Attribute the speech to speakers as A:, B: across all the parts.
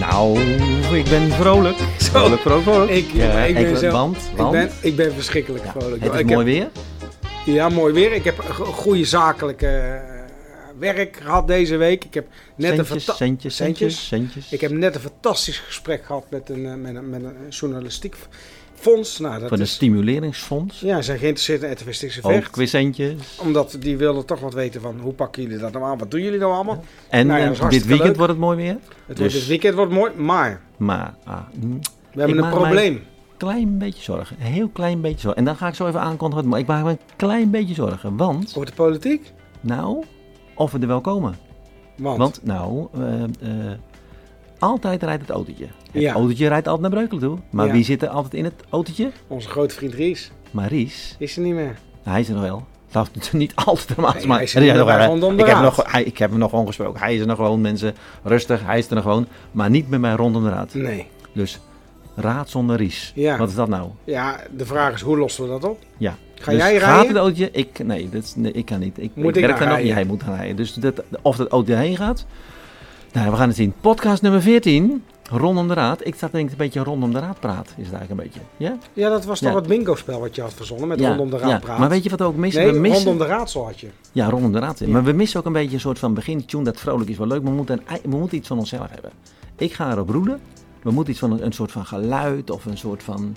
A: Nou, ik ben vrolijk.
B: Zo.
A: Vrolijk, vrolijk, vrolijk.
B: Ik, eh,
A: Ja,
B: ik ben zo-
A: Want,
B: Ik
A: want...
B: ben, ik ben verschrikkelijk
A: Ja,
B: vrolijk.
A: het
B: joh.
A: is
B: ik
A: mooi
B: heb,
A: weer.
B: Ja, mooi weer. Ik heb een go- goede zakelijke eh, werk gehad deze week. Ik heb net een
A: centjes,
B: fanta-
A: centjes, centjes, centjes.
B: Ik heb net een fantastisch gesprek gehad met een, eh, met een, met een journalistiek fonds. Nou, dat
A: Van een
B: is,
A: stimuleringsfonds.
B: ja, ze zijn geïnteresseerd in activistische
A: Ook
B: vecht.
A: weer centjes.
B: Omdat die wilden toch wat weten van hoe pakken jullie dat nou aan? Wat doen jullie nou allemaal?
A: En
B: Nou ja, dat is
A: eh, dit
B: hartstikke
A: weekend
B: leuk.
A: wordt het mooi weer.
B: Het wordt
A: Dus-
B: dit weekend wordt mooi, maar
A: Maar ah, mm,
B: we hebben een
A: maak mij-
B: probleem.
A: klein beetje zorgen. Een heel klein beetje zorgen. En dan ga ik zo even aankondigen. Maar ik maak me een klein beetje zorgen. Want,
B: Wordt de politiek?
A: nou, of we er wel komen.
B: Want,
A: Want nou, eh, eh, altijd rijdt het autootje. Het
B: Ja.
A: autootje rijdt altijd naar Breukelen toe. Maar
B: Ja.
A: wie zit er altijd in het autootje?
B: onze grote vriend Ries
A: Maries.
B: is er niet meer.
A: Hij is er nog wel. Dat is niet altijd de maat,
B: Nee,
A: maar
B: hij zit er bij rondom de
A: ik, heb
B: raad.
A: nog, hij, ik heb hem nog gewoon gesproken. Hij is er nog gewoon, mensen. Rustig, hij is er nog gewoon. Maar niet met mij rondom de raad.
B: Nee.
A: Dus raad zonder Ries.
B: Hm. Ja.
A: Wat is dat nou?
B: Ja, de vraag is hoe lossen we dat op?
A: Ja.
B: Ga
A: Dus
B: jij
A: Gaat
B: rijden?
A: het autootje? Ik, nee, dat, is- nee, ik kan niet. Ik,
B: Moet ik
A: werk
B: gaan
A: daar nog
B: rijden?
A: niet. Hij moet gaan rijden. Dus dat, of dat auto heen gaat. Nou, we gaan het zien. Podcast nummer 14. Rondom de raad. Ik zat denk ik een beetje rondom de raad praat. Is het eigenlijk een beetje. Ja?
B: Ja, dat was toch
A: Ja.
B: het bingo-spel wat je had verzonnen met
A: ja,
B: rondom de raad
A: ja.
B: praten.
A: Maar weet je wat we ook missen?
B: nee,
A: we missen
B: rondom de raadsel had je.
A: Ja, rondom de raad.
B: Ja.
A: Maar we missen ook een beetje een soort van begintune dat vrolijk is wel leuk. Maar we moeten, een ei- we moeten iets van onszelf hebben. Ik ga erop roelen. We moeten iets van een, een soort van geluid of een soort van...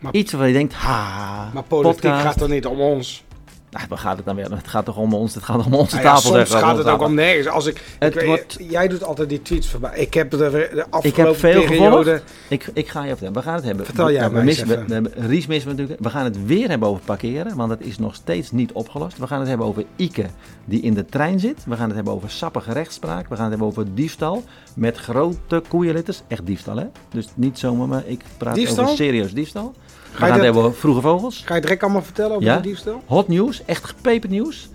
B: Maar-
A: iets waar je denkt, ha,
B: Maar politiek
A: podcast.
B: gaat er niet om ons.
A: Nou, waar gaat het dan weer? Het gaat toch om ons, het gaat om onze
B: Nou ja,
A: tafel.
B: soms
A: zeg maar,
B: gaat
A: onze
B: het ook
A: tafel.
B: om nergens. Als ik,
A: Het
B: ik weet-
A: wordt-
B: Jij doet altijd die tweets voorbij. Ik heb de, de afgelopen
A: Ik heb veel
B: periode...
A: gevolgd. Ik, ik ga je vertellen, we gaan het hebben.
B: Vertel
A: We-
B: jij
A: we,
B: mij eens
A: missen- we,
B: even.
A: we hebben- Ries missen we natuurlijk. We gaan het weer hebben over parkeren, want dat is nog steeds niet opgelost. We gaan het hebben over Ike, die in de trein zit. We gaan het hebben over sappige rechtspraak. We gaan het hebben over diefstal met grote koeienletters. Echt diefstal, hè? Dus niet zomaar, maar ik praat
B: Diefstal?
A: over serieus diefstal. We gaan
B: dat-
A: het hebben over vroege vogels.
B: Ga je het direct allemaal vertellen over
A: Ja?
B: die diefstal?
A: Hot nieuws, echt gepeperd nieuws.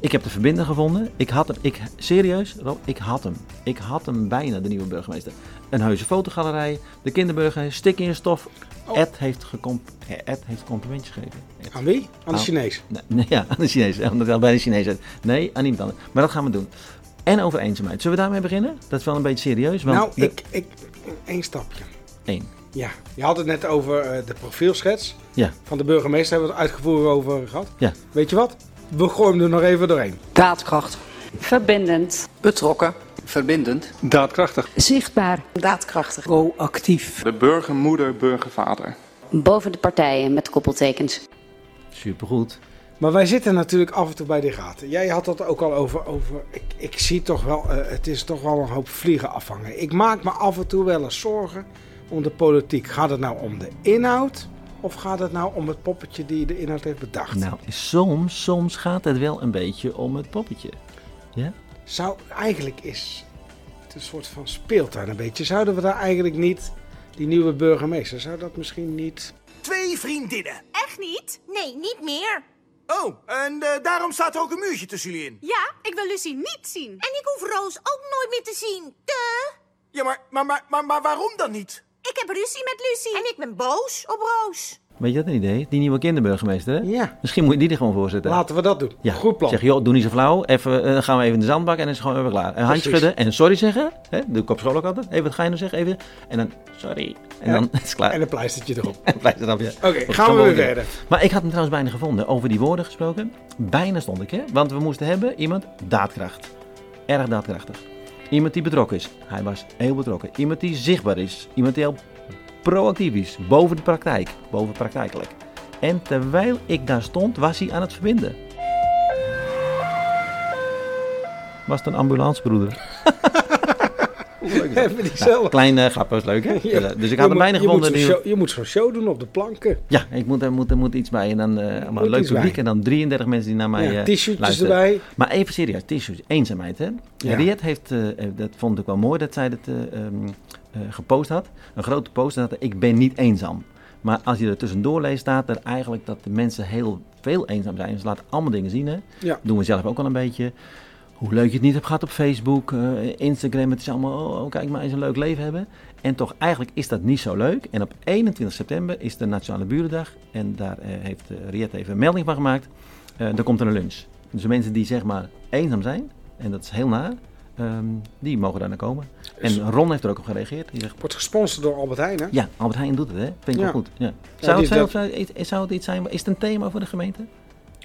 A: Ik heb de verbinder gevonden. Ik had hem, ik, serieus, Rob, ik had hem. Ik had hem bijna, de nieuwe burgemeester. Een heuse fotogalerij, de kinderburger, stik in je stof.
B: Oh.
A: Ed, heeft gecom- Ed heeft complimentjes gegeven. Ed.
B: Aan wie? Aan de
A: Oh.
B: Chinees.
A: Nee, nee, ja, aan de Chinees. Omdat hij al bij de Chinees is. Nee, aan iemand anders. Maar dat gaan we doen. En over eenzaamheid. Zullen we daarmee beginnen? Dat is wel een beetje serieus. Want
B: nou,
A: de-
B: ik, ik... Eén stapje.
A: één.
B: Ja, je had het net over eh, de profielschets
A: Ja.
B: van de burgemeester. Hebben we het uitgevoerd over gehad.
A: Ja.
B: Weet je wat? We gooien hem er nog even doorheen.
C: Daadkracht.
D: Verbindend.
C: Betrokken.
E: Verbindend.
F: Daadkrachtig.
D: Zichtbaar.
C: Daadkrachtig. Proactief.
F: De burgermoeder, burgervader.
D: Boven de partijen met koppeltekens.
A: Supergoed.
B: Maar wij zitten natuurlijk af en toe bij die gaten. Jij had dat ook al over. over ik, ik zie toch wel, eh, het is toch wel een hoop vliegen afvangen. Ik maak me af en toe wel eens zorgen om de politiek. Gaat het nou om de inhoud? Of gaat het nou om het poppetje die de inhoud heeft bedacht?
A: Nou, soms, soms gaat het wel een beetje om het poppetje.
B: Zou, eigenlijk is het een soort van speeltuin een beetje. Zouden we daar eigenlijk niet, die nieuwe burgemeester, zou dat misschien niet...
G: Twee vriendinnen.
H: Echt niet? Nee, niet meer.
G: Oh, en eh, daarom staat er ook een muurtje tussen jullie in.
H: Ja, ik wil Lucie niet zien. En ik hoef Roos ook nooit meer te zien. Te.
G: Ja, maar, maar, maar, maar, maar waarom dan niet?
H: Ik heb ruzie met Lucie. En ik ben boos op Roos.
A: Weet je wat een idee is? Die nieuwe kinderburgemeester, hè?
B: Ja.
A: Misschien moet je die er gewoon voor zitten.
B: Laten we dat doen.
A: ja.
B: Goed plan.
A: Zeg, joh, doe niet zo flauw. Even, eh, gaan we even in de zandbak en dan is het gewoon even klaar. Een handje
B: Precies.
A: schudden en sorry zeggen. Hè? Doe ik op school ook altijd. Even, wat ga je nou zeggen? Even. En dan, sorry. En
B: Ja.
A: dan is het klaar.
B: En een pleistertje erop.
A: En blijft het af, ja.
B: Oké,
A: Wordt
B: gaan we
A: gewoon
B: weer
A: weer.
B: verder.
A: Maar ik had hem trouwens bijna gevonden. Over die woorden gesproken. Bijna stond ik, hè? Want we moesten hebben iemand daadkracht. Erg daadkrachtig. Iemand die betrokken is. Hij was heel betrokken. Iemand die zichtbaar is. Iemand die heel proactief is. Boven de praktijk. Boven praktijkelijk. En terwijl ik daar stond, was hij aan het verbinden. Was het een ambulancebroeder?
B: Even die zelf.
A: Klein eh, grap, was leuk hè?
B: Ja.
A: Dus ik
B: Je
A: had hem
B: moet-
A: bijna
B: je moet
A: gevonden.
B: zo'n
A: die-
B: show- Je moet zo'n show doen op de planken.
A: Ja, ik moet, er moet, er moet iets bij. En dan eh, maar
B: moet
A: een leuk
B: iets bij.
A: publiek. En dan 33 mensen die naar mij
B: ja,
A: eh,
B: t-shirtjes
A: luisteren.
B: erbij.
A: Maar even serieus, tissues, eenzaamheid hè.
B: Ja.
A: Riet heeft, eh, eh, dat vond ik wel mooi dat zij dat eh, ehm, eh, gepost had. Een grote post, dat ik ben niet eenzaam. Maar als je er tussendoor leest, staat er eigenlijk dat de mensen heel veel eenzaam zijn. Ze laten allemaal dingen zien hè.
B: Ja.
A: Doen we zelf ook al een beetje. Hoe leuk je het niet hebt gehad op Facebook, eh, Instagram. Het is allemaal, oh, oh, kijk maar eens een leuk leven hebben. En toch, eigenlijk is dat niet zo leuk. En op 21 september is de Nationale Burendag. En daar eh, heeft eh, Riet even een melding van gemaakt. Eh, er komt er een lunch. Dus de mensen die zeg maar eenzaam zijn, en dat is heel naar, eh, ehm, die mogen daar naar komen. En Ron heeft er ook op gereageerd. Die zegt,
B: Wordt gesponsord door Albert Heijn, hè?
A: ja, Albert Heijn doet het, hè? Vind ik
B: Ja.
A: wel goed. Ja.
B: die
A: Zou, het,
B: is
A: zijn-
B: dat-
A: zou, het- zou het iets zijn, is het een thema voor de gemeente?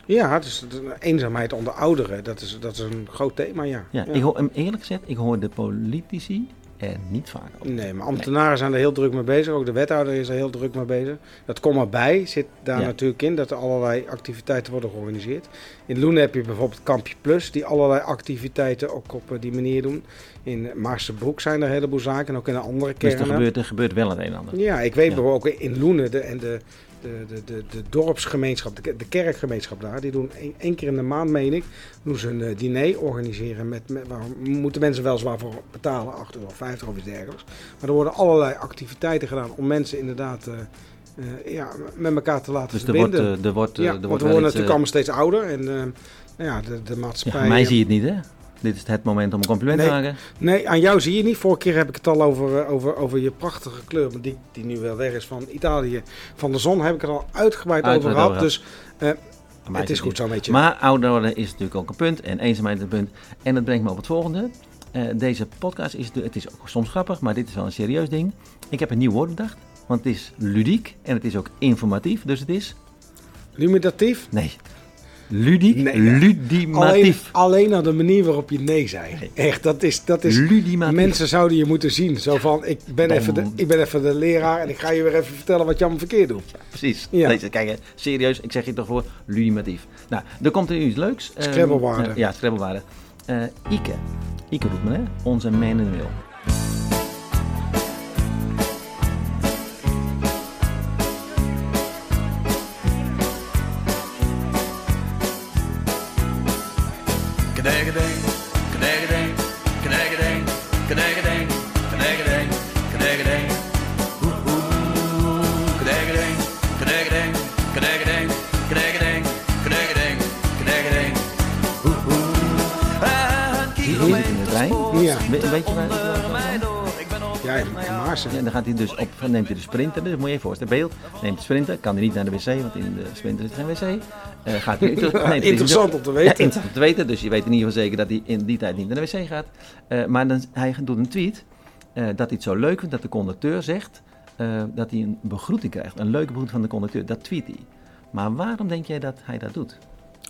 B: Ja, dus de eenzaamheid onder ouderen, dat is, dat is een groot thema, ja.
A: Ja,
B: Ja.
A: Ik hoor, hem eerlijk gezegd, ik hoor de politici er niet vaak over.
B: Nee, maar ambtenaren zijn er heel druk mee bezig. Ook de wethouder is er heel druk mee bezig. Dat komt erbij, zit daar
A: Ja.
B: natuurlijk in dat er allerlei activiteiten worden georganiseerd. In Loenen heb je bijvoorbeeld Kampje Plus, die allerlei activiteiten ook op eh, die manier doen. In Maarsebroek zijn er een heleboel zaken en ook in de andere
A: Dus
B: kernen.
A: er gebeurt, er gebeurt wel het een en ander.
B: Ja, ik weet
A: Ja.
B: bijvoorbeeld ook in Loenen de, en de, de, de, de, de dorpsgemeenschap, de, ke- de kerkgemeenschap daar, die doen één- één keer in de maand, meen ik, doen ze een eh, diner organiseren. Met, met, waar moeten mensen wel zwaar voor betalen, 8 euro, 50 of iets dergelijks. Maar er worden allerlei activiteiten gedaan om mensen inderdaad eh, eh, ja, met elkaar te laten
A: Dus er wordt,
B: verbinden.
A: eh, er wordt, eh,
B: ja,
A: er
B: want
A: wordt
B: we
A: wel
B: worden
A: iets,
B: natuurlijk
A: eh,
B: allemaal steeds ouder en eh, nou ja, de, de maatschappij...
A: ja, mij
B: eh,
A: zie je het niet, hè? Dit is het moment om een compliment te
B: Nee.
A: maken.
B: Nee, aan jou zie je niet. Vorige keer heb ik het al over, eh, over, over je prachtige kleur, maar die, die nu wel weg is van Italië. Van de zon heb ik het al uitgebreid over
A: Uitgebreid
B: gehad.
A: over
B: Dus
A: Aan mij zie
B: het is
A: je
B: goed zo met je.
A: Maar ouder worden is natuurlijk ook een punt en eenzaamheid is een punt. En dat brengt me op het volgende. Eh, deze podcast is, de- het is ook soms grappig, maar dit is wel een serieus ding. Ik heb een nieuw woord bedacht, want het is ludiek en het is ook informatief. Dus het is,
B: Limitatief.
A: nee, ludiek,
B: Nee, nee. Alleen,
A: ludimatief.
B: alleen aan de manier waarop je nee zei. Echt, dat is... Dat is
A: ludimatief.
B: mensen zouden je moeten zien. Zo van, ik ben,
A: Dom.
B: even de, ik ben even de leraar en ik ga je weer even vertellen wat je allemaal verkeerd doet.
A: Precies.
B: Ja.
A: Deze, kijk, hè, serieus, ik zeg je toch voor ludimatief. Nou, er komt er nu iets leuks. Ehm,
B: Scrabblewaarde.
A: eh, ja, scrabblewaarde. Eh Ike. Ike Roetman, hè? Onze man in the middle.
E: Kneggeding, kneggeding, kneggeding, kneggeding, kneggeding, kneggeding. Kneggeding, kneggeding, kneggeding, kneggeding, kneggeding, kneggeding. Een
A: Heerlijk in de
E: kilometer
A: trein.
E: spoor
B: Ja.
A: We- weet je waar?
E: onder mij door. Ik ben
B: Ja, in Maarsen.
A: En dan gaat hij dus op, neemt hij de sprinter, dus moet je je voorstellen, beeld, neemt de sprinter, kan hij niet naar de wc, want in de sprinter is geen wc. Eh, gaat hij, neemt hij-
B: Interessant om te weten.
A: Ja, interessant om te weten, dus je weet in ieder geval zeker dat hij in die tijd niet naar de wc gaat. Eh, maar dan, hij doet een tweet eh, dat hij het zo leuk vindt dat de conducteur zegt eh, dat hij een begroeting krijgt, een leuke begroeting van de conducteur, dat tweet hij. Maar waarom denk jij dat hij dat doet?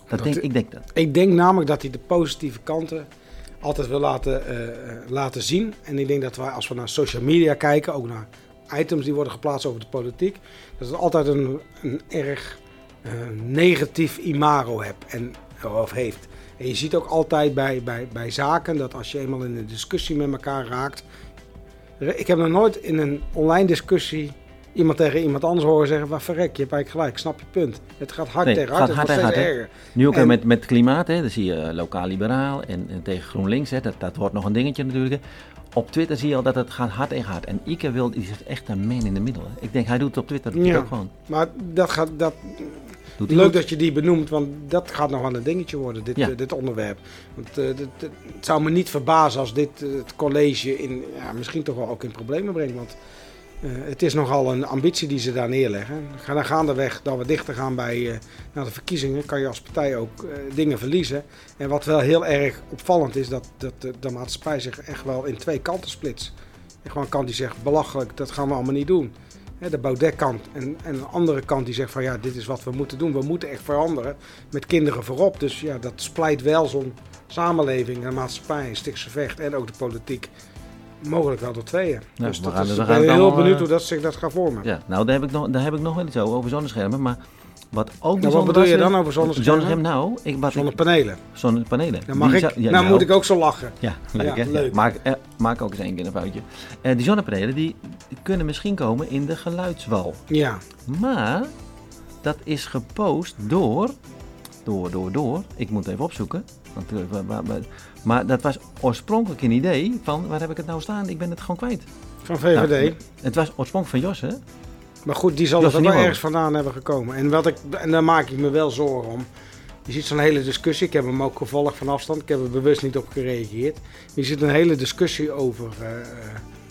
A: Dat denk,
B: hij-
A: ik denk dat.
B: Ik denk namelijk dat hij de positieve kanten altijd wil laten, eh, eh, laten zien. En ik denk dat wij, als we naar social media kijken, ook naar items die worden geplaatst over de politiek, dat het altijd een, een erg eh, negatief imago hebt en, eh, of heeft. En je ziet ook altijd bij, bij, bij zaken dat als je eenmaal in een discussie met elkaar raakt. Ik heb nog nooit in een online discussie iemand tegen iemand anders horen zeggen: van verrek, je hebt eigenlijk gelijk, ik snap je punt. Het gaat hard
A: Nee,
B: tegen
A: gaat
B: hard, het
A: hard
B: wordt
A: tegen
B: steeds
A: hard, hè?
B: erger.
A: Nu ook
B: En-
A: weer met, met klimaat, hè, dan zie je eh, lokaal-liberaal en, en tegen GroenLinks, hè, dat, dat wordt nog een dingetje natuurlijk. Op Twitter zie je al dat het gaat hard tegen hard. En Ike wil, die is echt een man in de middel. hè. Ik denk, hij doet het op Twitter doet hij
B: Ja.
A: ook gewoon.
B: Maar dat gaat, dat,
A: Doet hij
B: leuk
A: goed.
B: dat je die benoemt, want dat gaat nog wel een dingetje worden, dit,
A: Ja.
B: eh, dit onderwerp. Want eh, dit- dit- het zou me niet verbazen als dit eh, het college in, ja, misschien toch wel ook in problemen brengt. Want eh, het is nogal een ambitie die ze daar neerleggen. Ga dan gaandeweg dat we dichter gaan bij eh, naar de verkiezingen, kan je als partij ook eh, dingen verliezen. En wat wel heel erg opvallend is, dat, dat de, de maatschappij zich echt wel in twee kanten splitst. En gewoon kant die zegt, belachelijk, dat gaan we allemaal niet doen. Hè, de Baudet-kant. En, en een andere kant die zegt van ja, dit is wat we moeten doen. We moeten echt veranderen. Met kinderen voorop. Dus ja, dat splijt wel zo'n samenleving, en maatschappij, een stikse vecht en ook de politiek. Mogelijk wel door tweeën.
A: Nou,
B: dus
A: we
B: dat
A: gaan-
B: is,
A: we
B: ik
A: gaan
B: ben
A: het
B: heel
A: allemaal,
B: benieuwd
A: eh,
B: hoe dat zich dat gaat vormen.
A: Ja, nou, daar heb ik nog, daar heb ik nog wel iets over, over zonneschermen. Maar wat ook
B: Nou, wat
A: bijzonder
B: bedoel je
A: was,
B: dan
A: eh,
B: over zonneschermen?
A: nou, ik, wat
B: Zonder
A: ik-
B: panelen.
A: zonnepanelen.
B: Dan mag
A: Die
B: ik,
A: zou- ja,
B: nou
A: nou.
B: moet ik ook zo lachen.
A: Ja, leuk
B: Ja,
A: hè?
B: leuk.
A: Ja, maak, eh, maak ook eens één keer een foutje. Eh, die zonnepanelen die kunnen misschien komen in de geluidswal.
B: Ja,
A: Maar dat is gepost door, door, door, door. Ik moet het even opzoeken. Want, eh, wa- wa- wa- maar dat was oorspronkelijk een idee van waar heb ik het nou staan? Ik ben het gewoon kwijt.
B: van VVD.
A: Nou, het was oorspronkelijk van Jos, hè?
B: Maar goed, die zal
A: Dat
B: er
A: is niet
B: wel
A: mogelijk.
B: ergens vandaan hebben gekomen. En, wat ik, en daar maak ik me wel zorgen om. Je ziet zo'n hele discussie. Ik heb hem ook gevolgd van afstand. Ik heb er bewust niet op gereageerd. Je ziet een hele discussie over eh, eh,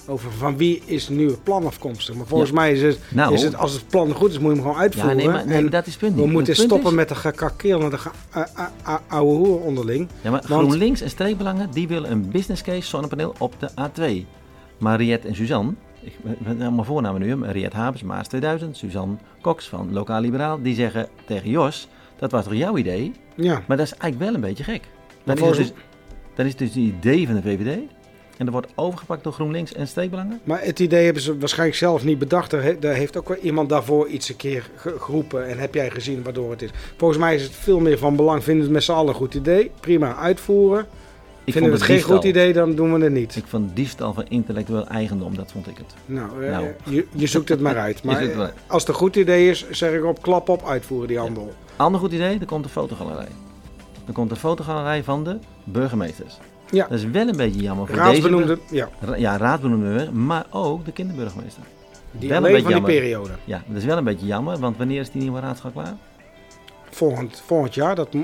B: Over van wie is nu het plan afkomstig. Maar volgens mij is het,
A: Nou.
B: is het, als het plan goed is, moet je hem gewoon uitvoeren.
A: nee, maar- nee,
B: En
A: maar dat is het punt
B: We
A: niet.
B: moeten
A: Het punt
B: stoppen
A: is-
B: met de gekakeel en de ge- a- a- a- ouwe hoer onderling.
A: Ja, maar
B: Want-
A: GroenLinks en streekbelangen die willen een business case zonnepaneel op de A2. Mariette en Suzanne, ik ben- ben allemaal voornamen nu, hè, Mariette Habers, Maas 2000, Suzanne Cox van Lokaal Liberaal, die zeggen tegen Jos, dat was toch jouw idee?
B: Ja,
A: Maar dat is eigenlijk wel een beetje gek. Dan
B: Maar
A: is, het
B: volgens-
A: dus, dan is het dus een idee van de VVD en dat wordt overgepakt door GroenLinks en streekbelangen.
B: maar het idee hebben ze waarschijnlijk zelf niet bedacht. Er, he- daar heeft ook wel iemand daarvoor iets een keer ge- geroepen. En heb jij gezien waardoor het is. Volgens mij is het veel meer van belang. Vinden we het met z'n allen een goed idee? Prima, uitvoeren.
A: Ik
B: Vinden we
A: vond
B: het geen
A: diefstal.
B: goed idee, dan doen we het niet.
A: Ik vond diefstal van intellectueel eigendom, dat vond ik het.
B: Nou, eh,
A: Nou.
B: Je, je zoekt het maar uit.
A: Je
B: Maar
A: zoekt het maar
B: eh, als het een goed idee is, zeg ik op klap op, uitvoeren die handel.
A: Ander goed idee, er komt een fotogalerij. Er komt een fotogalerij van de burgemeesters.
B: Ja.
A: Dat is wel een beetje jammer voor deze...
B: Raadsbenoemde, ja,
A: bur- Ra- Ja, raadbenoemde, burger, maar ook de kinderburgemeester.
B: die
A: Wel een
B: alleen
A: beetje
B: van die
A: jammer.
B: periode.
A: Ja, dat is wel een beetje jammer, want wanneer is die nieuwe raadschap klaar?
B: Volgend, volgend jaar, dat m-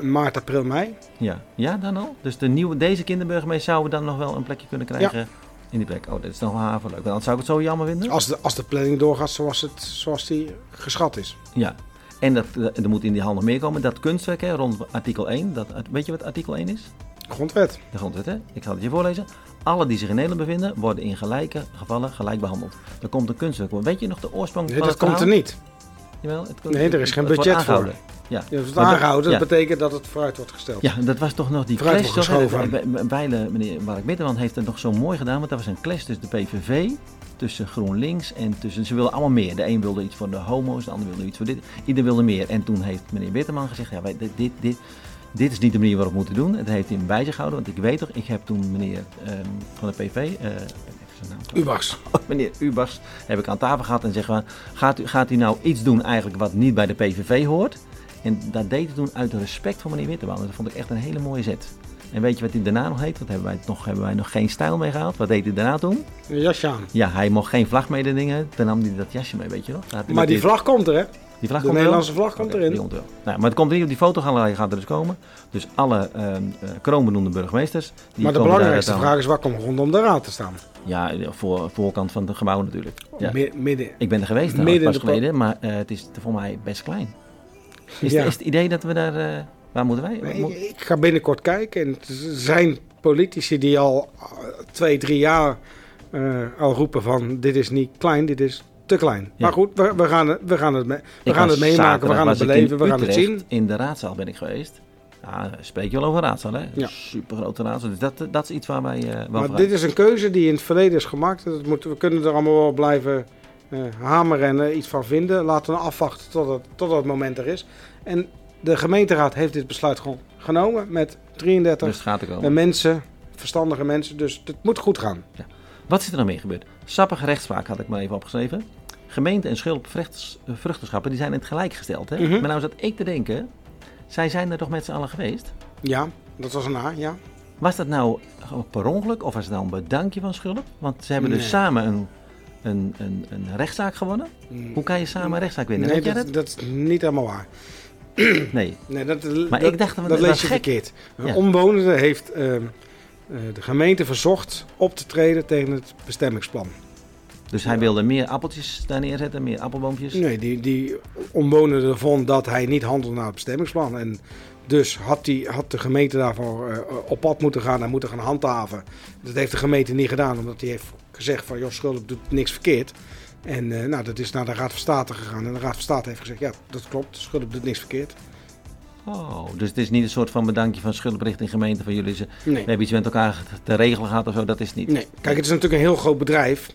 B: m- maart, april, mei.
A: Ja, ja dan al. Dus de nieuwe, deze kinderburgemeester zouden dan nog wel een plekje kunnen krijgen in die plek. Oh, dat is nog wel haven leuk. Want anders zou ik het zo jammer vinden.
B: Als de, als de planning doorgaat zoals, het, zoals die geschat is.
A: Ja. En dat, eh, er moet in die hand nog meer komen. Dat kunstwerk hè, rond artikel 1. Dat, eh, weet je wat artikel 1 is?
B: Grondwet.
A: De grondwet, hè? Ik zal het je voorlezen. Alle die zich in Nederland bevinden, worden in gelijke gevallen gelijk behandeld. Er komt een kunstwerk. voor. Weet je nog de oorsprong
B: Nee,
A: van
B: dat
A: het verhaal?
B: komt er niet.
A: Jawel, het komt
B: Nee, er is geen
A: het wordt
B: budget voor.
A: aangehouden. Ja.
B: Je hebt dus het
A: Maar dat-
B: aangehouden,
A: ja.
B: dat betekent dat het vooruit wordt gesteld.
A: Ja, dat was toch nog die
B: Vooruit
A: clash.
B: wordt
A: toch? Eh,
B: geschoven.
A: Bij- bij- Bijle, meneer Mark Mitterman heeft het nog zo mooi gedaan. Want dat was een clash tussen de PVV, tussen GroenLinks en tussen... Ze wilden allemaal meer. De een wilde iets voor de homo's, de ander wilde iets voor dit. Ieder wilde meer. En toen heeft meneer Witteman gezegd, ja, wij, dit, dit, dit, dit is niet de manier waarop we moeten doen. Het heeft hij hem bij zich gehouden. Want ik weet toch, ik heb toen meneer ehm, van de PV... eh, ik ben even zijn naam kwijt.
B: Ubachs.
A: Meneer Ubachs heb ik aan tafel gehad en zeg maar, gaat u, gaat u nou iets doen eigenlijk wat niet bij de PVV hoort? En dat deed hij toen uit respect voor meneer Witteman. En dat vond ik echt een hele mooie zet. En weet je wat hij daarna nog heet? Want hebben wij, het nog, hebben wij nog geen stijl mee gehaald. Wat deed hij daarna toen?
B: Een jasje aan.
A: Ja, hij mocht geen vlag mee en dingen. Toen nam hij dat jasje mee, weet je wel. Daar had hij
B: Maar
A: met
B: die vlag komt er, hè?
A: die vlag
B: De
A: komt er wel?
B: Nederlandse vlag komt
A: Oké,
B: erin.
A: die komt er wel. Nou, maar het komt er niet op die fotogalerij, gaat er dus komen. Dus alle ehm, eh, kroonbenoemde burgemeesters... Die
B: Maar de
A: komen daar
B: belangrijkste
A: dan-
B: vraag is, waar komt rondom de raad te staan?
A: Ja, voor, voorkant van het gebouw natuurlijk. Ja.
B: Mi- Midden.
A: Ik ben er geweest
B: Midden
A: Midden
B: in
A: pas
B: de pro-
A: geleden, maar eh, het is voor mij best klein. Is,
B: Ja.
A: is het idee dat we daar... eh, waar moeten wij?
B: Nee,
A: Moet-
B: ik, ik ga binnenkort kijken. En er zijn politici die al eh, twee, drie jaar eh, al roepen van dit is niet klein, dit is te klein. Maar goed, we, we gaan het, we gaan het, me- we
A: Ik
B: gaan
A: was
B: het meemaken, we
A: zaterdag
B: gaan het
A: was ik in
B: beleven, we gaan het
A: Utrecht.
B: zien.
A: In de raadzaal ben ik geweest. Ja, spreek je wel over raadzaal, hè?
B: Ja.
A: Super grote raadzaal. Dus dat, dat is iets waar wij eh wel
B: Maar
A: voor
B: dit is een keuze die in het verleden is gemaakt. Dat moeten, we kunnen er allemaal wel blijven eh, hameren en eh, iets van vinden. Laten we afwachten tot het, tot het moment er is. En de gemeenteraad heeft dit besluit gewoon genomen met 33
A: Dus het gaat er komen.
B: mensen, verstandige mensen. Dus het moet goed gaan.
A: Wat is er nou meer gebeurd? Sappige rechtspraak had ik maar even opgeschreven. Gemeente en schulpvruchtenschappen die zijn in het gelijk gesteld.
B: Mhm.
A: Hè? Maar nou zat ik te denken, zij zijn er toch met z'n allen geweest?
B: Ja, dat was een A, ja.
A: Was dat nou per ongeluk of was het nou een bedankje van Schulp? Want ze hebben dus
B: Nee.
A: samen een, een, een, een rechtszaak gewonnen. Hoe kan je samen een rechtszaak winnen?
B: Mm. Nee,
A: Weet jij
B: dat, dat is niet helemaal waar.
A: dat? Nee.
B: Nee, dat,
A: Maar
B: dat,
A: ik dacht dat-
B: dat
A: dat
B: lees je
A: gek.
B: verkeerd. Een
A: Ja.
B: omwonende heeft ehm, eh, de gemeente verzocht op te treden tegen het bestemmingsplan.
A: Dus hij wilde meer appeltjes daar neerzetten, meer appelboompjes.
B: Nee, die, die omwonende vond dat hij niet handelde naar het bestemmingsplan. En dus had, die, had de gemeente daarvoor eh, op pad moeten gaan en moeten gaan handhaven. Dat heeft de gemeente niet gedaan, omdat die heeft gezegd van... ...joh, Schulp doet niks verkeerd. En eh, nou, dat is naar de Raad van State gegaan. En de Raad van State heeft gezegd, ja, dat klopt, Schulp doet niks verkeerd.
A: Oh, dus het is niet een soort van bedankje van Schulp richting gemeente van jullie. Ze, We
B: Nee.
A: hebben iets met elkaar te regelen gehad of zo, dat is het niet.
B: Nee. Kijk, het is natuurlijk een heel groot bedrijf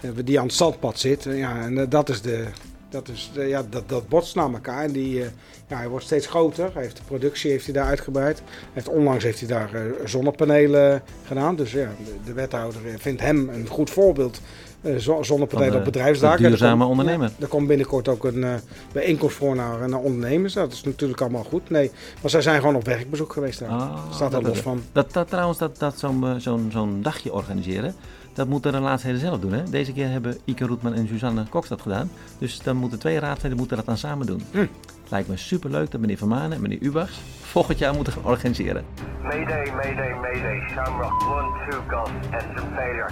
B: eh, die aan het zandpad zit. En Ja, en eh, dat is de. Dat, is de, ja, dat, dat botst naar elkaar. En die, eh, ja, hij wordt steeds groter. Hij heeft de productie heeft hij daar uitgebreid. Hij heeft, onlangs heeft hij daar eh, zonnepanelen gedaan. Dus ja, de, de wethouder eh, vindt hem een goed voorbeeld. eh, zo- zonnepanelen
A: Van
B: op
A: de-
B: bedrijfsdaken.
A: de duurzame
B: Er komt-
A: ondernemer.
B: ja, er komt binnenkort ook een eh, bijeenkomst voor naar, naar ondernemers. Nou, Dat is natuurlijk allemaal goed. Nee, maar zij zijn gewoon op werkbezoek geweest daar.
A: Ah,
B: Staat daar
A: dat-
B: los van.
A: Dat, dat trouwens, dat, dat zo'n eh, zo'n zo'n dagje organiseren, dat moet de raadsleden zelf doen. Hè? Deze
B: Hm.
A: keer hebben Ike Roetman en Suzanne Cox dat gedaan. Dus dan moeten twee raadsleden moeten dat dan samen doen. Lijkt me superleuk dat meneer Van Manen en meneer Ubachs volgend jaar moeten gaan organiseren.
I: Mayday, mayday, mayday. Shamrock 1, 2, gone. Engine failure.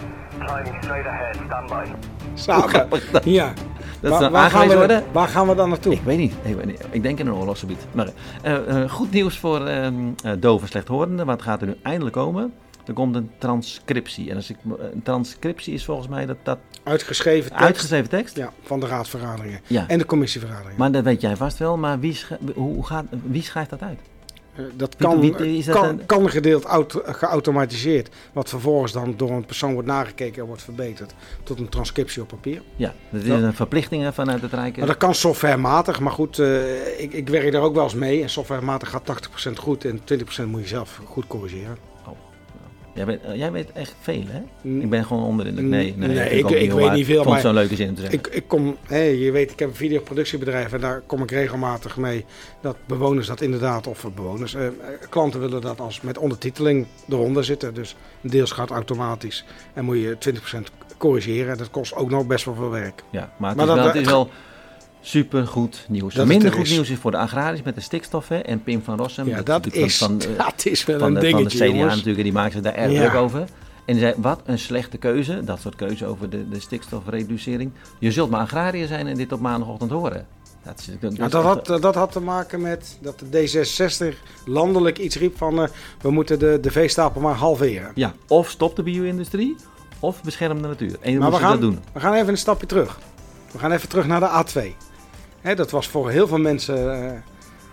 I: Climbing straight ahead. Stand by.
B: Samen.
A: grappig dat-
B: Ja.
A: Dat ze dan
B: Waar- waar, gaan we,
A: aangewezen worden?
B: dan- waar gaan we dan naartoe?
A: Ik weet niet. Ik, weet niet. Ik denk in een oorlogsgebied. Maar eh, eh, goed nieuws voor ehm eh dove slechthorenden. Wat gaat er nu eindelijk komen? Er komt een transcriptie. En als ik, me- een transcriptie is volgens mij dat, dat
B: Uitgeschreven tekst
A: uitgeschreven tekst.
B: ja, van de raadsvergaderingen
A: Ja.
B: en de commissievergaderingen.
A: Maar dat weet jij vast wel. Maar wie, sch- hoe gaat, wie schrijft dat uit?
B: Eh, dat
A: Wie-
B: kan,
A: wie- wie is dat
B: kan,
A: een-
B: kan gedeeld auto- geautomatiseerd, wat vervolgens dan door een persoon wordt nagekeken en wordt verbeterd tot een transcriptie op papier.
A: Ja, dat is
B: Ja.
A: een verplichting hè, vanuit het Rijk.
B: Maar dat kan softwarematig, maar goed, eh, ik, ik werk daar ook wel eens mee. En softwarematig gaat 80% goed en 20% moet je zelf goed corrigeren.
A: Jij, weet, eh, jij weet echt veel, hè?
B: Mm.
A: Ik ben gewoon onder in de... Nee, nee,
B: Nee, ik-
A: ook
B: ik
A: heel
B: weet
A: waar.
B: niet veel,
A: Ik vond het
B: maar
A: zo'n leuke zin om te zeggen.
B: Ik, ik kom, hé, je weet, ik heb een videoproductiebedrijf en daar kom ik regelmatig mee dat bewoners dat inderdaad, of bewoners, eh, eh, klanten willen dat als met ondertiteling eronder zitten. Dus deels gaat automatisch en moet je 20% corrigeren. Dat kost ook nog best wel veel werk.
A: Ja, maar het
B: Maar
A: is
B: dat-
A: wel, het is wel supergoed nieuws.
B: Dat het
A: Minder
B: er
A: goed
B: is.
A: nieuws is voor de agrarisch met de stikstof hè, en Pim van Rossum.
B: Ja, dat
A: natuurlijk
B: is,
A: van, van, eh,
B: dat is wel
A: van
B: een
A: de, van de
B: dingetje,
A: CDA
B: jongens.
A: natuurlijk, en die maakt zich daar erg
B: Ja.
A: druk over. En die zei, wat een slechte keuze, dat soort keuze over de, de stikstofreducering. Je zult maar agrariër zijn en dit op maandagochtend horen. Dat is, dat,
B: Nou,
A: is
B: dat,
A: echt-
B: had, dat had te maken met dat de D66 landelijk iets riep van eh, we moeten de, de veestapel maar halveren.
A: ja, of stop de bio-industrie, of bescherm de natuur. En je
B: Maar
A: moet
B: we gaan,
A: dat doen.
B: we gaan even een stapje terug. We gaan even terug naar de A2. Hè, dat was voor heel veel mensen. eh,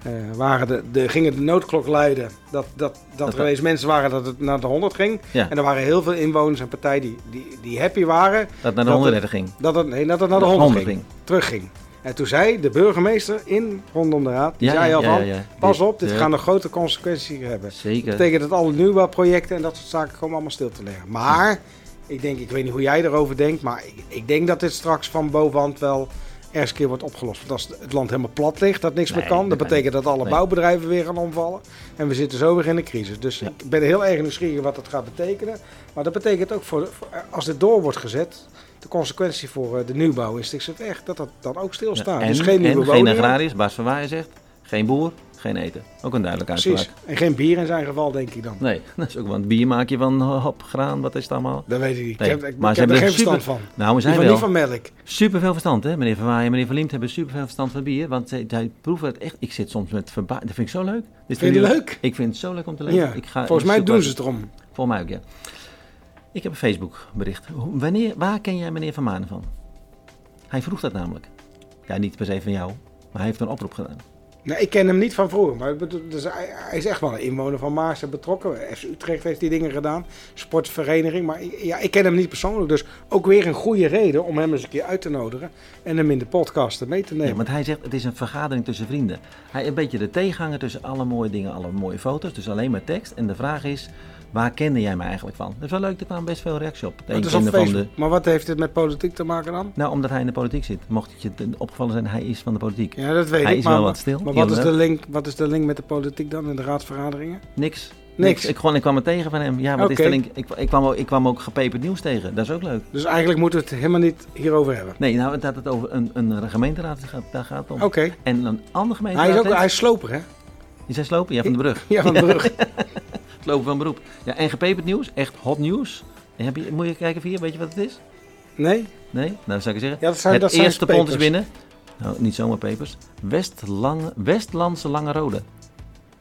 B: eh, waren de, de, gingen de noodklok luiden. Dat, dat, dat er
A: dat-
B: eens mensen waren dat het naar de 100 ging.
A: Ja.
B: En er waren heel veel inwoners en partijen die, die, die happy waren
A: Dat naar de
B: dat-
A: 130 ging.
B: dat het, nee, dat het naar de 100, ging.
A: ging.
B: Terugging. En toen zei de burgemeester in rondom de raad. Die
A: Ja,
B: zei
A: ja,
B: al
A: ja,
B: van,
A: ja, ja.
B: pas
A: Dit-
B: op, dit
A: ja.
B: gaan nog grote consequenties hebben. Dat
A: Zeker.
B: betekent dat alle nieuwbouwprojecten en dat soort zaken komen allemaal stil te liggen. Maar, ik denk, ik weet niet hoe jij erover denkt, maar ik, ik denk dat dit straks van bovenhand wel ergens een keer wordt opgelost. Want als het land helemaal plat ligt, dat niks
A: Nee,
B: meer kan, dat
A: dat kan
B: betekent dat alle
A: Nee.
B: bouwbedrijven weer gaan omvallen. En we zitten zo weer in een crisis. Dus ik ben heel erg nieuwsgierig wat dat gaat betekenen. Maar dat betekent ook, voor, voor- als dit door wordt gezet, de consequentie voor eh, de nieuwbouw is stikstof echt dat dat dan ook
A: Ja,
B: stilstaat.
A: en
B: dus geen nieuwe
A: en geen
B: woningen.
A: agrariërs, Bas van Waaien zegt, geen boer, geen eten. Ook een duidelijke uitspraak.
B: Precies. En geen bier in zijn geval, denk ik dan.
A: Nee, dat is ook want bier maak je van eh, hop, graan, wat is het allemaal?
B: Dat weet ik niet.
A: Nee,
B: ik heb, ik,
A: maar
B: ik
A: ze
B: heb er
A: hebben
B: geen
A: super-
B: verstand van.
A: Nou, we
B: In ieder
A: zijn
B: geval
A: wel
B: niet van melk.
A: super veel verstand, hè? Meneer Van Waaien en meneer Van Liemt hebben super veel verstand van bier. Want zij, zij proeven het echt. Ik zit soms met verbaasd. Dat vind ik zo leuk. Dit
B: Vind je
A: ik-
B: leuk?
A: Ik vind het zo leuk om te lezen.
B: Ja.
A: Ik ga,
B: Volgens
A: ik
B: mij
A: zoek
B: doen
A: wat-
B: ze het erom.
A: Volgens mij ook, ja. Ik heb een Facebook bericht. Wanneer, waar ken jij meneer Van Manen van? Hij vroeg dat namelijk. Ja, niet per se van jou, maar hij heeft een oproep gedaan.
B: Nee, Nou, ik ken hem niet van vroeger. Maar ik bedoel, dus hij, hij is echt wel een inwoner van Maas en betrokken. FC Utrecht heeft die dingen gedaan. Sportvereniging. Maar ik- ja, ik ken hem niet persoonlijk. Dus ook weer een goede reden om hem eens een keer uit te nodigen. En hem in de podcast mee te
A: Nee,
B: nemen.
A: want hij zegt het is een vergadering tussen vrienden. Hij is een beetje de tegenhanger tussen alle mooie dingen, alle mooie foto's. Dus alleen maar tekst. En de vraag is, waar kende jij me eigenlijk van? Dat is wel leuk, er kwamen best veel reacties op. De
B: Dat
A: een
B: is op
A: kende van
B: Facebook.
A: de...
B: Maar wat heeft dit met politiek te maken dan?
A: Nou, omdat hij in de politiek zit. Mocht het je t- opgevallen zijn, hij is van de politiek.
B: Ja, dat weet
A: Hij
B: ik.
A: is
B: maar,
A: wel wat stil,
B: Maar wat is,
A: eerlijk.
B: de link, wat is de link met de politiek dan in de raadsvergaderingen?
A: Niks.
B: Niks.
A: Ik, gewoon, ik kwam er tegen van hem. Ja, wat is
B: Oké.
A: de link? Ik, ik, kwam ook, ik kwam ook gepeperd nieuws tegen. Dat is ook leuk.
B: Dus eigenlijk moeten we het helemaal niet hierover hebben.
A: Nee, nou, dat het over een, een gemeenteraad gaat, daar gaat het om.
B: Oké.
A: En een andere gemeenteraad...
B: Hij is ook hij is sloper, hè?
A: Je zei slopen? Ja, van de brug.
B: Ja, van de brug.
A: Slopen van beroep. Ja, en gepeperd nieuws. Echt hot nieuws. En heb je, moet je kijken even hier, weet je wat het is?
B: Nee?
A: Nee? Nou, dat zou ik zeggen.
B: Ja, dat zijn-
A: het
B: dat zijn
A: eerste
B: pepers.
A: pond is binnen. Nou, niet zomaar pepers. Westlang, Westlandse Lange Rode.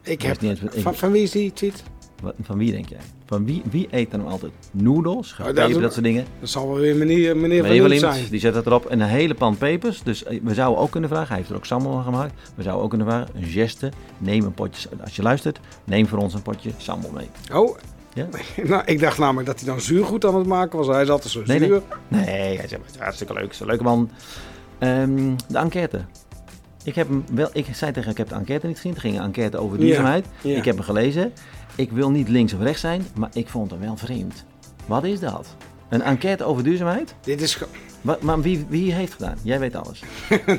B: Ik
A: Hij
B: heb,
A: is niet eens- ik-
B: van, van wie is die tweet?
A: Wat- Van wie denk jij? Van wie, wie eet dan altijd noedels,
B: Oh, dat
A: gepeperd,
B: is-
A: dat soort dingen?
B: Dat zal wel weer meneer, meneer Van
A: Meneer
B: Liemt
A: Willems,
B: zijn.
A: die zet dat erop. En een hele pan pepers. Dus eh, we zouden ook kunnen vragen, hij heeft er ook sambal van gemaakt. We zouden ook kunnen vragen, een geste. Neem een potje, als je luistert, neem voor ons een potje sambal mee.
B: Oh,
A: Ja?
B: nou, ik dacht namelijk dat hij dan zuurgoed aan het maken was. Hij zat er zo
A: Nee,
B: zuur.
A: nee. Nee, hij zegt, maar het is hartstikke leuk. Het is een leuke man. Ehm, de enquête. Ik, heb hem wel, ik zei tegen hem, ik heb de enquête niet gezien. Het ging een enquête over
B: Ja,
A: duurzaamheid.
B: ja.
A: Ik heb hem gelezen. Ik wil niet links of rechts zijn, maar ik vond hem wel vreemd. Wat is dat? Een enquête over duurzaamheid?
B: Dit is... ge-
A: Wat, maar wie, wie heeft gedaan? Jij weet alles.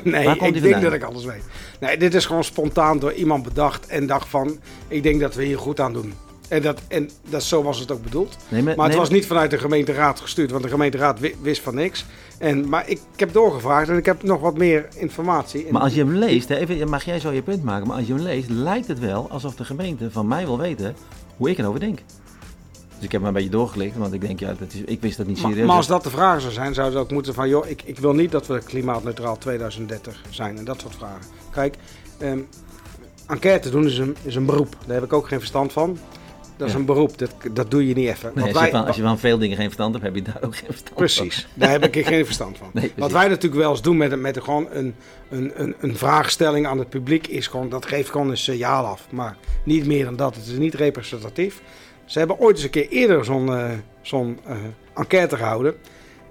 B: Nee,
A: Waar komt hij
B: ik denk
A: vandaan?
B: dat ik alles weet. Nee, dit is gewoon spontaan door iemand bedacht en dacht van... Ik denk dat we hier goed aan doen. En dat, en dat, zo was het ook bedoeld.
A: Nee, maar-
B: maar het
A: nee,
B: was
A: maar-
B: niet vanuit de gemeenteraad gestuurd, want de gemeenteraad wi- wist van niks. En, maar ik, ik heb doorgevraagd en ik heb nog wat meer informatie. En-
A: Maar als je hem leest, hè, even, mag jij zo je punt maken, maar als je hem leest, lijkt het wel alsof de gemeente van mij wil weten hoe ik erover denk. Dus ik heb hem een beetje doorgelicht, want ik denk, ja, dat is, ik wist dat niet
B: maar,
A: serieus.
B: maar als dat de vragen zou zijn, zouden ze ook moeten van... joh, ik, ik wil niet dat we klimaatneutraal 2030 zijn en dat soort vragen. Kijk, ehm, enquête doen is een, is een beroep. Daar heb ik ook geen verstand van. Dat is
A: Ja.
B: een beroep, dat, dat doe je niet even.
A: Nee,
B: Wat
A: als, je
B: wij-
A: van, als je van veel dingen geen verstand hebt, heb je daar ook geen verstand van.
B: Precies, daar heb ik geen verstand van.
A: Nee, precies.
B: Wat wij natuurlijk wel eens doen met, een- met een- gewoon een, een, een, een vraagstelling aan het publiek is gewoon, dat geeft gewoon een signaal af. Maar niet meer dan dat, het is niet representatief. Ze hebben ooit eens een keer eerder zo'n eh, zo'n eh, enquête gehouden.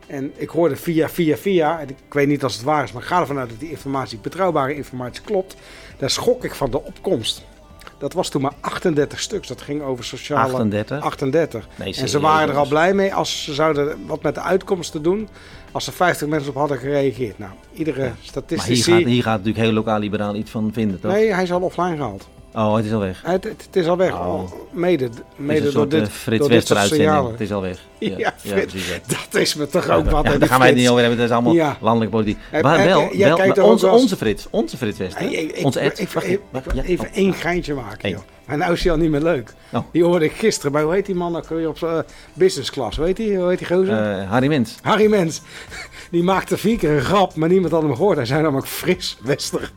B: En ik hoorde via, via, via, en ik weet niet als het waar is, maar ik ga ervan uit dat die informatie, betrouwbare informatie klopt. Daar schok ik van de opkomst. Dat was toen maar 38 stuks. Dat ging over sociale...
A: 38?
B: 38.
A: Nee,
B: en ze
A: serieus,
B: waren er al
A: jongens.
B: blij mee als ze zouden wat met de uitkomsten doen. Als er 50 mensen op hadden gereageerd. Nou, iedere
A: Maar hier
B: statistici...
A: gaat, hier gaat natuurlijk heel lokaal-liberaal iets van vinden, toch?
B: nee, hij is al offline gehaald.
A: Oh, het is al weg. Het
B: Het, het, het is al weg.
A: Oh.
B: Mede,
A: is
B: mede
A: een
B: door
A: soort
B: dit,
A: eh, Frits
B: door dit soort
A: Wester-uitzending. Het
B: signalen.
A: is al weg.
B: Ja, Frits,
A: precies, ja.
B: dat is me toch ook
A: Ja,
B: wat. hè,
A: daar
B: die
A: gaan wij het niet
B: Frits.
A: over hebben, dat is allemaal
B: Ja.
A: landelijke politiek.
B: Heb-
A: Maar
B: heb-
A: wel,
B: jij kijkt
A: wel
B: er
A: maar
B: ook
A: onze,
B: wel eens-
A: onze Frits, onze Frits Wester.
B: Hey, ik- ik-
A: onze
B: ik-
A: Ed,
B: ik-
A: wacht
B: ik-
A: even. wacht, ja,
B: Even
A: oh.
B: één geintje maken,
A: Eén.
B: joh. Maar nou is hij al niet meer leuk.
A: Oh.
B: Die hoorde ik gisteren bij, hoe heet die man ook weer op zijn business class? Hoe heet die, hoe heet die gozer?
A: Eh, Harry Mens.
B: Harry Mens, die maakte vier keer een grap, maar niemand had hem gehoord. Hij zei namelijk Fris Wester.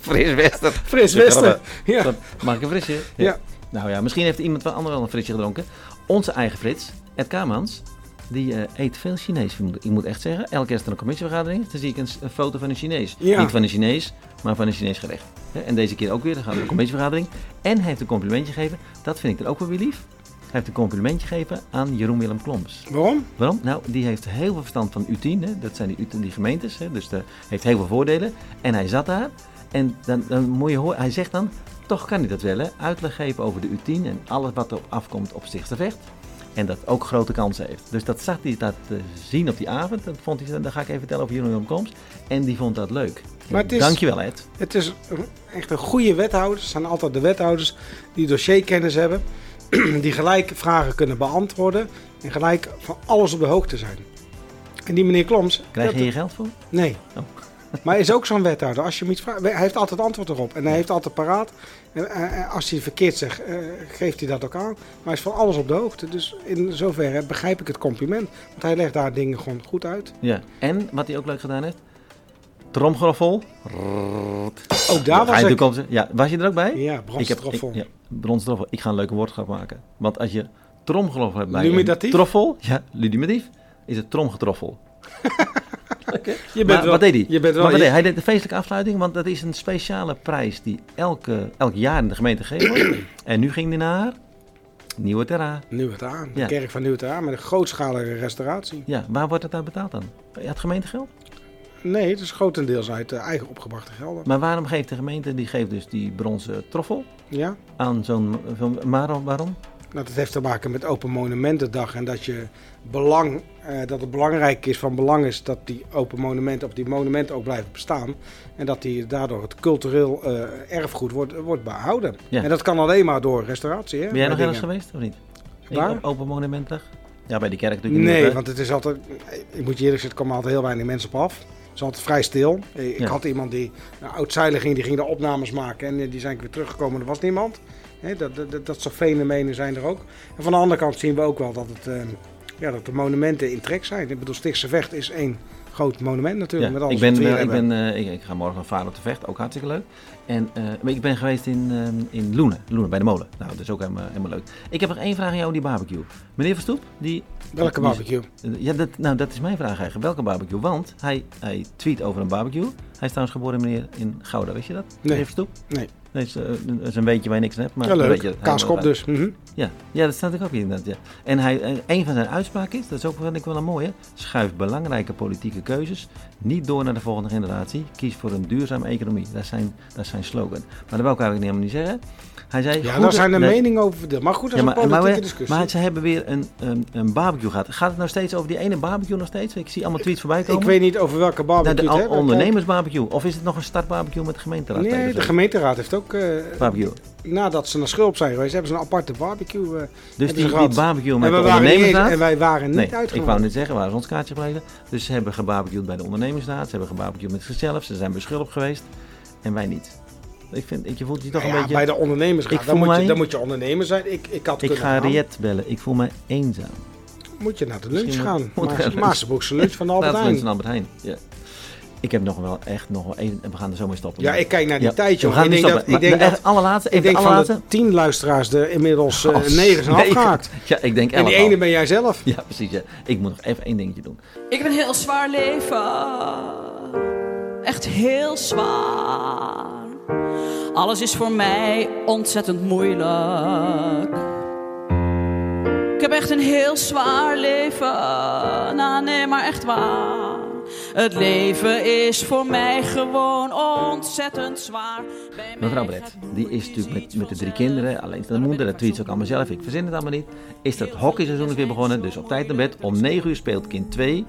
A: Frits Wester.
B: Fris
A: Ze krabben.
B: Wester. Ja.
A: Maak een frisje.
B: Ja.
A: Nou ja, misschien heeft iemand wel ander wel een frisje gedronken. Onze eigen Frits, Ed Kamans, die eh, eet veel Chinees. moet- Ik moet echt zeggen, elke keer als er een commissievergadering is, dan zie ik een, s- een foto van een Chinees.
B: Ja.
A: Niet van een Chinees, maar van een Chinees gerecht. Hè, En deze keer ook weer, dan gaat er een commissievergadering. En hij heeft een complimentje gegeven, dat vind ik dan ook wel weer lief. Hij heeft een complimentje gegeven aan Jeroen Willem Kloms.
B: Waarom?
A: Waarom? Nou, die heeft heel veel verstand van U10. Hè? Dat zijn die, U10 die gemeentes. Hè? Dus eh heeft heel veel voordelen. En hij zat daar. En dan, dan moet je horen, hij zegt dan, toch kan hij dat wel. Hè? Uitleg geven over de U10 en alles wat er afkomt op Stichtsevecht. En dat ook grote kansen heeft. Dus dat zat hij dat te zien op die avond. Dat vond hij, dan ga ik even vertellen over Jeroen Koms. En die vond dat leuk.
B: Maar het is-
A: Dankjewel Ed.
B: Het is een- echt een goede wethouder. Het zijn altijd de wethouders die dossierkennis hebben. Die gelijk vragen kunnen beantwoorden. En gelijk van alles op de hoogte zijn. En die meneer Kloms...
A: Krijg je
B: dat-
A: hier geld voor?
B: Nee.
A: Oh.
B: Maar hij is ook zo'n wethouder. Als je hem iets vraagt, hij heeft altijd antwoord erop. En hij heeft altijd paraat. En, eh, eh, als hij verkeerd zegt, eh, geeft hij dat ook aan. Maar hij is van alles op de hoogte. Dus in zoverre begrijp ik het compliment. Want hij legt daar dingen gewoon goed uit.
A: Ja. En wat hij ook leuk gedaan heeft? Tromgeroffel. Ga je
B: Ook daar was ik.
A: natuurlijk op- Ja, was je er ook bij?
B: Ja, brandstoffel.
A: Ik, heb- ik, ja, bronstroffel. Ik ga een leuke woordgrap maken. Want als je tromgeroffel hebt bij
B: Lumidatief?
A: een troffel, ja, ludimatief, is het tromgetroffel.
B: Je
A: Maar wat deed hij?
B: Je bent
A: Maar
B: wel
A: wat
B: je-
A: deed hij? hij deed de feestelijke afsluiting, want dat is een speciale prijs die elke, elk jaar in de gemeente gegeven wordt. en nu ging hij naar Nieuwe Terra.
B: Nieuwe Taan. De
A: Ja.
B: kerk van Nieuwe Taan met een grootschalige restauratie.
A: Ja, waar wordt het nou betaald dan? Het gemeentegeld?
B: Nee, het is grotendeels uit eh, eigen opgebrachte gelden.
A: Maar waarom geeft de gemeente, die geeft dus die bronzen troffel
B: Ja?
A: aan zo'n... zo'n- Waarom? waarom?
B: Nou, dat heeft te maken met Open Monumentendag. En dat, je belang, eh, dat het belangrijk is van belang is dat die open monumenten op die monumenten ook blijven bestaan. En dat die daardoor het cultureel eh, erfgoed wordt, wordt behouden.
A: Ja.
B: En dat kan alleen maar door restauratie. Hè,
A: Ben jij
B: bij
A: nog ergens
B: dingen.
A: geweest of niet?
B: Waar?
A: Op Open Monumentdag? Ja, bij die kerk natuurlijk niet,
B: Nee,
A: hè?
B: want het is altijd. Ik moet je eerlijk zeggen, er komen altijd heel weinig mensen op af. Het is altijd vrij stil. Eh, Ik
A: Ja.
B: had iemand die naar oud-zeilen ging, die ging daar opnames maken en eh, die zijn weer teruggekomen. Er was niemand. Hè, dat, dat, dat- dat soort fenomenen zijn er ook. En van de andere kant zien we ook wel dat, het, eh, ja, dat de monumenten in trek zijn. Ik bedoel, Stichtse Vecht is één groot monument natuurlijk.
A: Ja,
B: met
A: ik,
B: alles
A: ben,
B: wat we hier
A: wel- ik,
B: hebben.
A: ben, eh, ik, ik ga morgen een vader op de vecht, ook hartstikke leuk. En, eh, maar ik ben geweest in, eh, in Loenen, Loenen, bij de molen. Nou, dat is ook helemaal, helemaal leuk. Ik heb nog één vraag aan jou, die barbecue. Meneer Verstoep, die...
B: Welke barbecue?
A: Ja, dat, nou, dat is mijn vraag eigenlijk. Welke barbecue? Want hij, hij tweet over een barbecue. Hij is trouwens geboren meneer in Gouda, weet je dat? Meneer Verstoep?
B: Nee.
A: Dat is, eh, dat is een beetje waar je niks aan hebt. Maar
B: Ja,
A: een beetje-
B: leuk. Kaaskop
A: hij-
B: dus. Mhm.
A: ja, ja, dat staat ik ook hier inderdaad. Ja. En hij, en een van zijn uitspraken is, dat is ook vind ik wel een mooie, schuif belangrijke politieke keuzes niet door naar de volgende generatie. Kies voor een duurzame economie. Dat is zijn, dat is zijn slogan. Maar dat wil ik eigenlijk niet helemaal niet zeggen. Hij zei,
B: Ja,
A: goed-
B: daar zijn de
A: nee.
B: meningen over verdeeld. Maar goed,
A: Ja,
B: dat is
A: maar,
B: een
A: maar,
B: politieke
A: we-
B: discussie.
A: maar ze hebben weer een, een, een barbecue gehad. Gaat het nou steeds over die ene barbecue nog steeds? Ik zie allemaal tweets voorbij komen.
B: ik weet niet over welke
A: Nou,
B: barbecue
A: de
B: het hebben.
A: ondernemersbarbecue. Of is het nog een startbarbecue met de gemeenteraad?
B: Nee,
A: tegen
B: de
A: zo?
B: gemeenteraad heeft ook ook, eh,
A: Barbecue.
B: nadat ze naar Schulp zijn geweest, hebben ze een aparte barbecue eh, hebben
A: Dus
B: ze
A: die, die
B: gehad.
A: barbecue
B: En
A: met
B: we
A: de
B: waren niet
A: ondernemersraad.
B: eens- En wij waren niet
A: Nee, ik wou
B: uitgenodigd.
A: net zeggen, waar is ons kaartje gebleven? Dus ze hebben gebarbecued bij de ondernemersraad, ze hebben gebarbecued met zichzelf, ze zijn bij Schulp geweest en wij niet. Ik vind, ik, je voelt je toch
B: Nou
A: een
B: ja,
A: beetje...
B: Bij de ondernemersraad,
A: Ik
B: dan,
A: voel
B: moet je,
A: mij-
B: dan moet je ondernemer zijn. Ik, ik had
A: ik
B: kunnen
A: ga
B: gaan.
A: Riet bellen, ik voel me eenzaam.
B: Moet je naar de lunch
A: Misschien
B: gaan.
A: moet- moet naar
B: Maar-
A: de
B: Maasterboekse lunch van Albert
A: Laten we eens
B: Heijn.
A: naar Albert Heijn. Ja. Ik heb nog wel echt nog wel één, en we gaan er zo mee stoppen.
B: Ja, ik kijk naar die tijd,
A: We
B: joh.
A: gaan
B: Ik
A: niet
B: denk dat-
A: stoppen.
B: ik
A: Maar
B: denk
A: de
B: dat-
A: echt allerlaatste,
B: Ik
A: even
B: denk
A: de
B: van
A: allerlaatste.
B: de tien luisteraars er inmiddels eh,
A: Oh,
B: negen
A: negen.
B: zijn afgehaakt.
A: Ja, ik denk
B: En
A: elf.
B: die ene ben jij zelf.
A: Ja, precies. Ja. Ik moet nog even één dingetje doen.
J: Ik heb een heel zwaar leven. Echt heel zwaar. Alles is voor mij ontzettend moeilijk. Ik heb echt een heel zwaar leven. Nou, nee, maar echt waar. Het leven is voor mij gewoon ontzettend zwaar. Bij
A: Mevrouw
J: mij
A: Brett,
J: gaat
A: die is
J: nooit
A: natuurlijk met,
J: iets
A: met de drie
J: vanzelf.
A: kinderen, alleen de moeder, dat tweet ze ook allemaal zelf, ik verzin het allemaal niet. Is dat hockeyseizoen weer begonnen, dus op tijd naar bed. Om 9 uur speelt kind 2.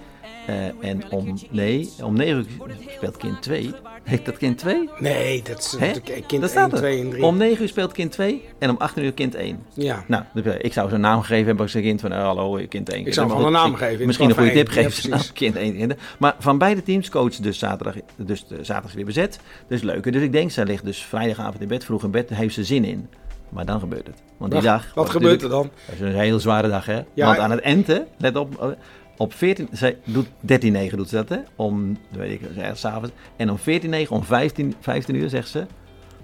A: en om, nee, om 9 uur speelt kind 2. Heet dat kind 2?
B: Nee, dat is
A: Hè?
B: natuurlijk eh, kind
A: dat
B: 1,
A: staat er.
B: 2 en 3.
A: Om 9 uur speelt kind 2 en om 18 uur kind 1.
B: Ja.
A: Nou, ik zou zo'n naam gegeven hebben als een kind van, eh, hallo, kind 1.
B: Ik zou gewoon een naam geven, in
A: Misschien een
B: plaats
A: goede
B: van
A: tip
B: één. Ja,
A: geven.
B: precies.
A: kind 1, Maar van beide teams coachen dus zaterdag, dus de zaterdag is weer bezet. Dus leuker. Dus ik denk, zij ligt dus vrijdagavond in bed, vroeg in bed, daar heeft ze zin in. Maar dan gebeurt het. Want die
B: Wacht,
A: dag...
B: Wat
A: was
B: gebeurt er
A: natuurlijk-
B: dan?
A: Dat is een heel zware dag, hè?
B: Ja,
A: Want
B: ik-
A: aan het eind, hè, let op, op 14... Zij doet 13-9 doet ze dat, hè? Om, weet ik, eh, s'avonds. En om 14-9, om 15, 15 uur zegt ze...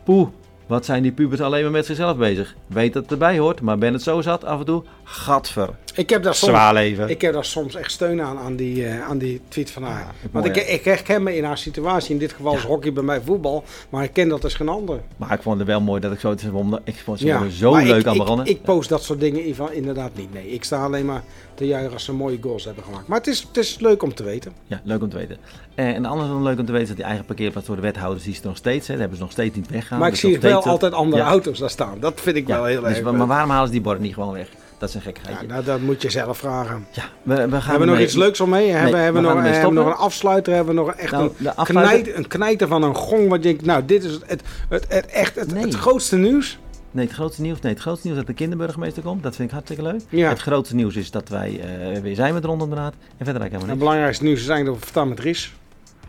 A: Poeh, wat zijn die pubers alleen maar met zichzelf bezig. Weet dat het erbij hoort, maar ben het zo zat af en toe... Gadver,
B: Ik heb daar soms,
A: zwaar leven.
B: ik heb daar soms echt steun aan, aan die, eh, aan die tweet van haar. Want
A: Ah, mooi,
B: ik,
A: hè?
B: ik herken me in haar situatie. In dit geval is hockey bij mij voetbal. Maar ik ken dat als geen ander.
A: Maar ik vond het wel mooi dat ik zo... het is wonder- Ik vond ze
B: Ja,
A: er zo
B: maar
A: leuk
B: ik,
A: aan
B: ik-
A: begonnen.
B: Ik, post dat soort dingen in- inderdaad niet. Nee, ik sta alleen maar te juichen als ze mooie goals hebben gemaakt. Maar het is, het is leuk om te weten.
A: Ja, leuk om te weten. Eh, en anders dan leuk om te weten is dat die eigen parkeerplaats voor de wethouders die is er nog steeds. Hè, dat hebben ze nog steeds niet weggehaald.
B: maar ik
A: dus Dat
B: zie
A: is nog
B: wel
A: steeds dat-
B: altijd andere
A: Ja,
B: auto's daar staan. Dat vind ik
A: ja.
B: wel heel
A: Dus
B: erg.
A: wa- maar waarom halen ze die borden niet gewoon weg? Dat is een
B: ja,
A: gekheid. Ja,
B: nou, dat moet je zelf vragen.
A: we, we gaan
B: hebben we nog
A: ermee-
B: iets leuks om mee? hebben,
A: we
B: hebben,
A: gaan
B: we nog,
A: ermee
B: hebben we nog
A: stoppen.
B: een afsluiter? Hebben we nog echt
A: Nou, de
B: een,
A: afsluiter-
B: knijt, een knijter van een gong? Wat je denkt, nou, dit is het, het, het, het- echt het,
A: Nee.
B: het grootste nieuws.
A: Nee, het grootste nieuws, nee, het grootste nieuws is dat de kinderburgemeester komt. Dat vind ik hartstikke leuk.
B: Ja.
A: Het grootste nieuws is dat wij eh, weer zijn met rondom de raad. En verder heb ik
B: En
A: helemaal
B: het
A: niks.
B: belangrijkste nieuws is eigenlijk dat we vertaan met Ries.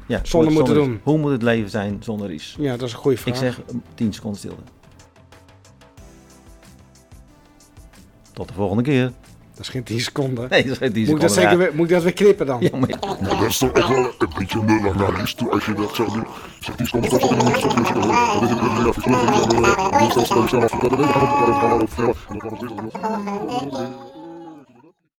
A: Ja,
B: zonder
A: hoe-
B: moeten
A: hoe- Hoe moet het leven zijn zonder is?
B: Ja, dat is een goede vraag.
A: Ik zeg eh, 10 seconden stilte. Tot de volgende keer.
B: Dat is geen 10 seconden.
A: Nee, dat is geen 10
B: moet, ik
A: seconden.
B: dat zeker, weer- moet ik dat weer knippen dan?
A: Ja, maar ik-
I: Maar dat is toch echt wel een beetje lullig naar links toe als je dat zou doen. Zeg die stond dat ik niet zo goed kan horen. Dat is een beetje naar verkeerd. Dat is een beetje naar verkeerd. Dat is een beetje naar verkeerd. Dat is een beetje naar verkeerd. Dat is een beetje naar verkeerd.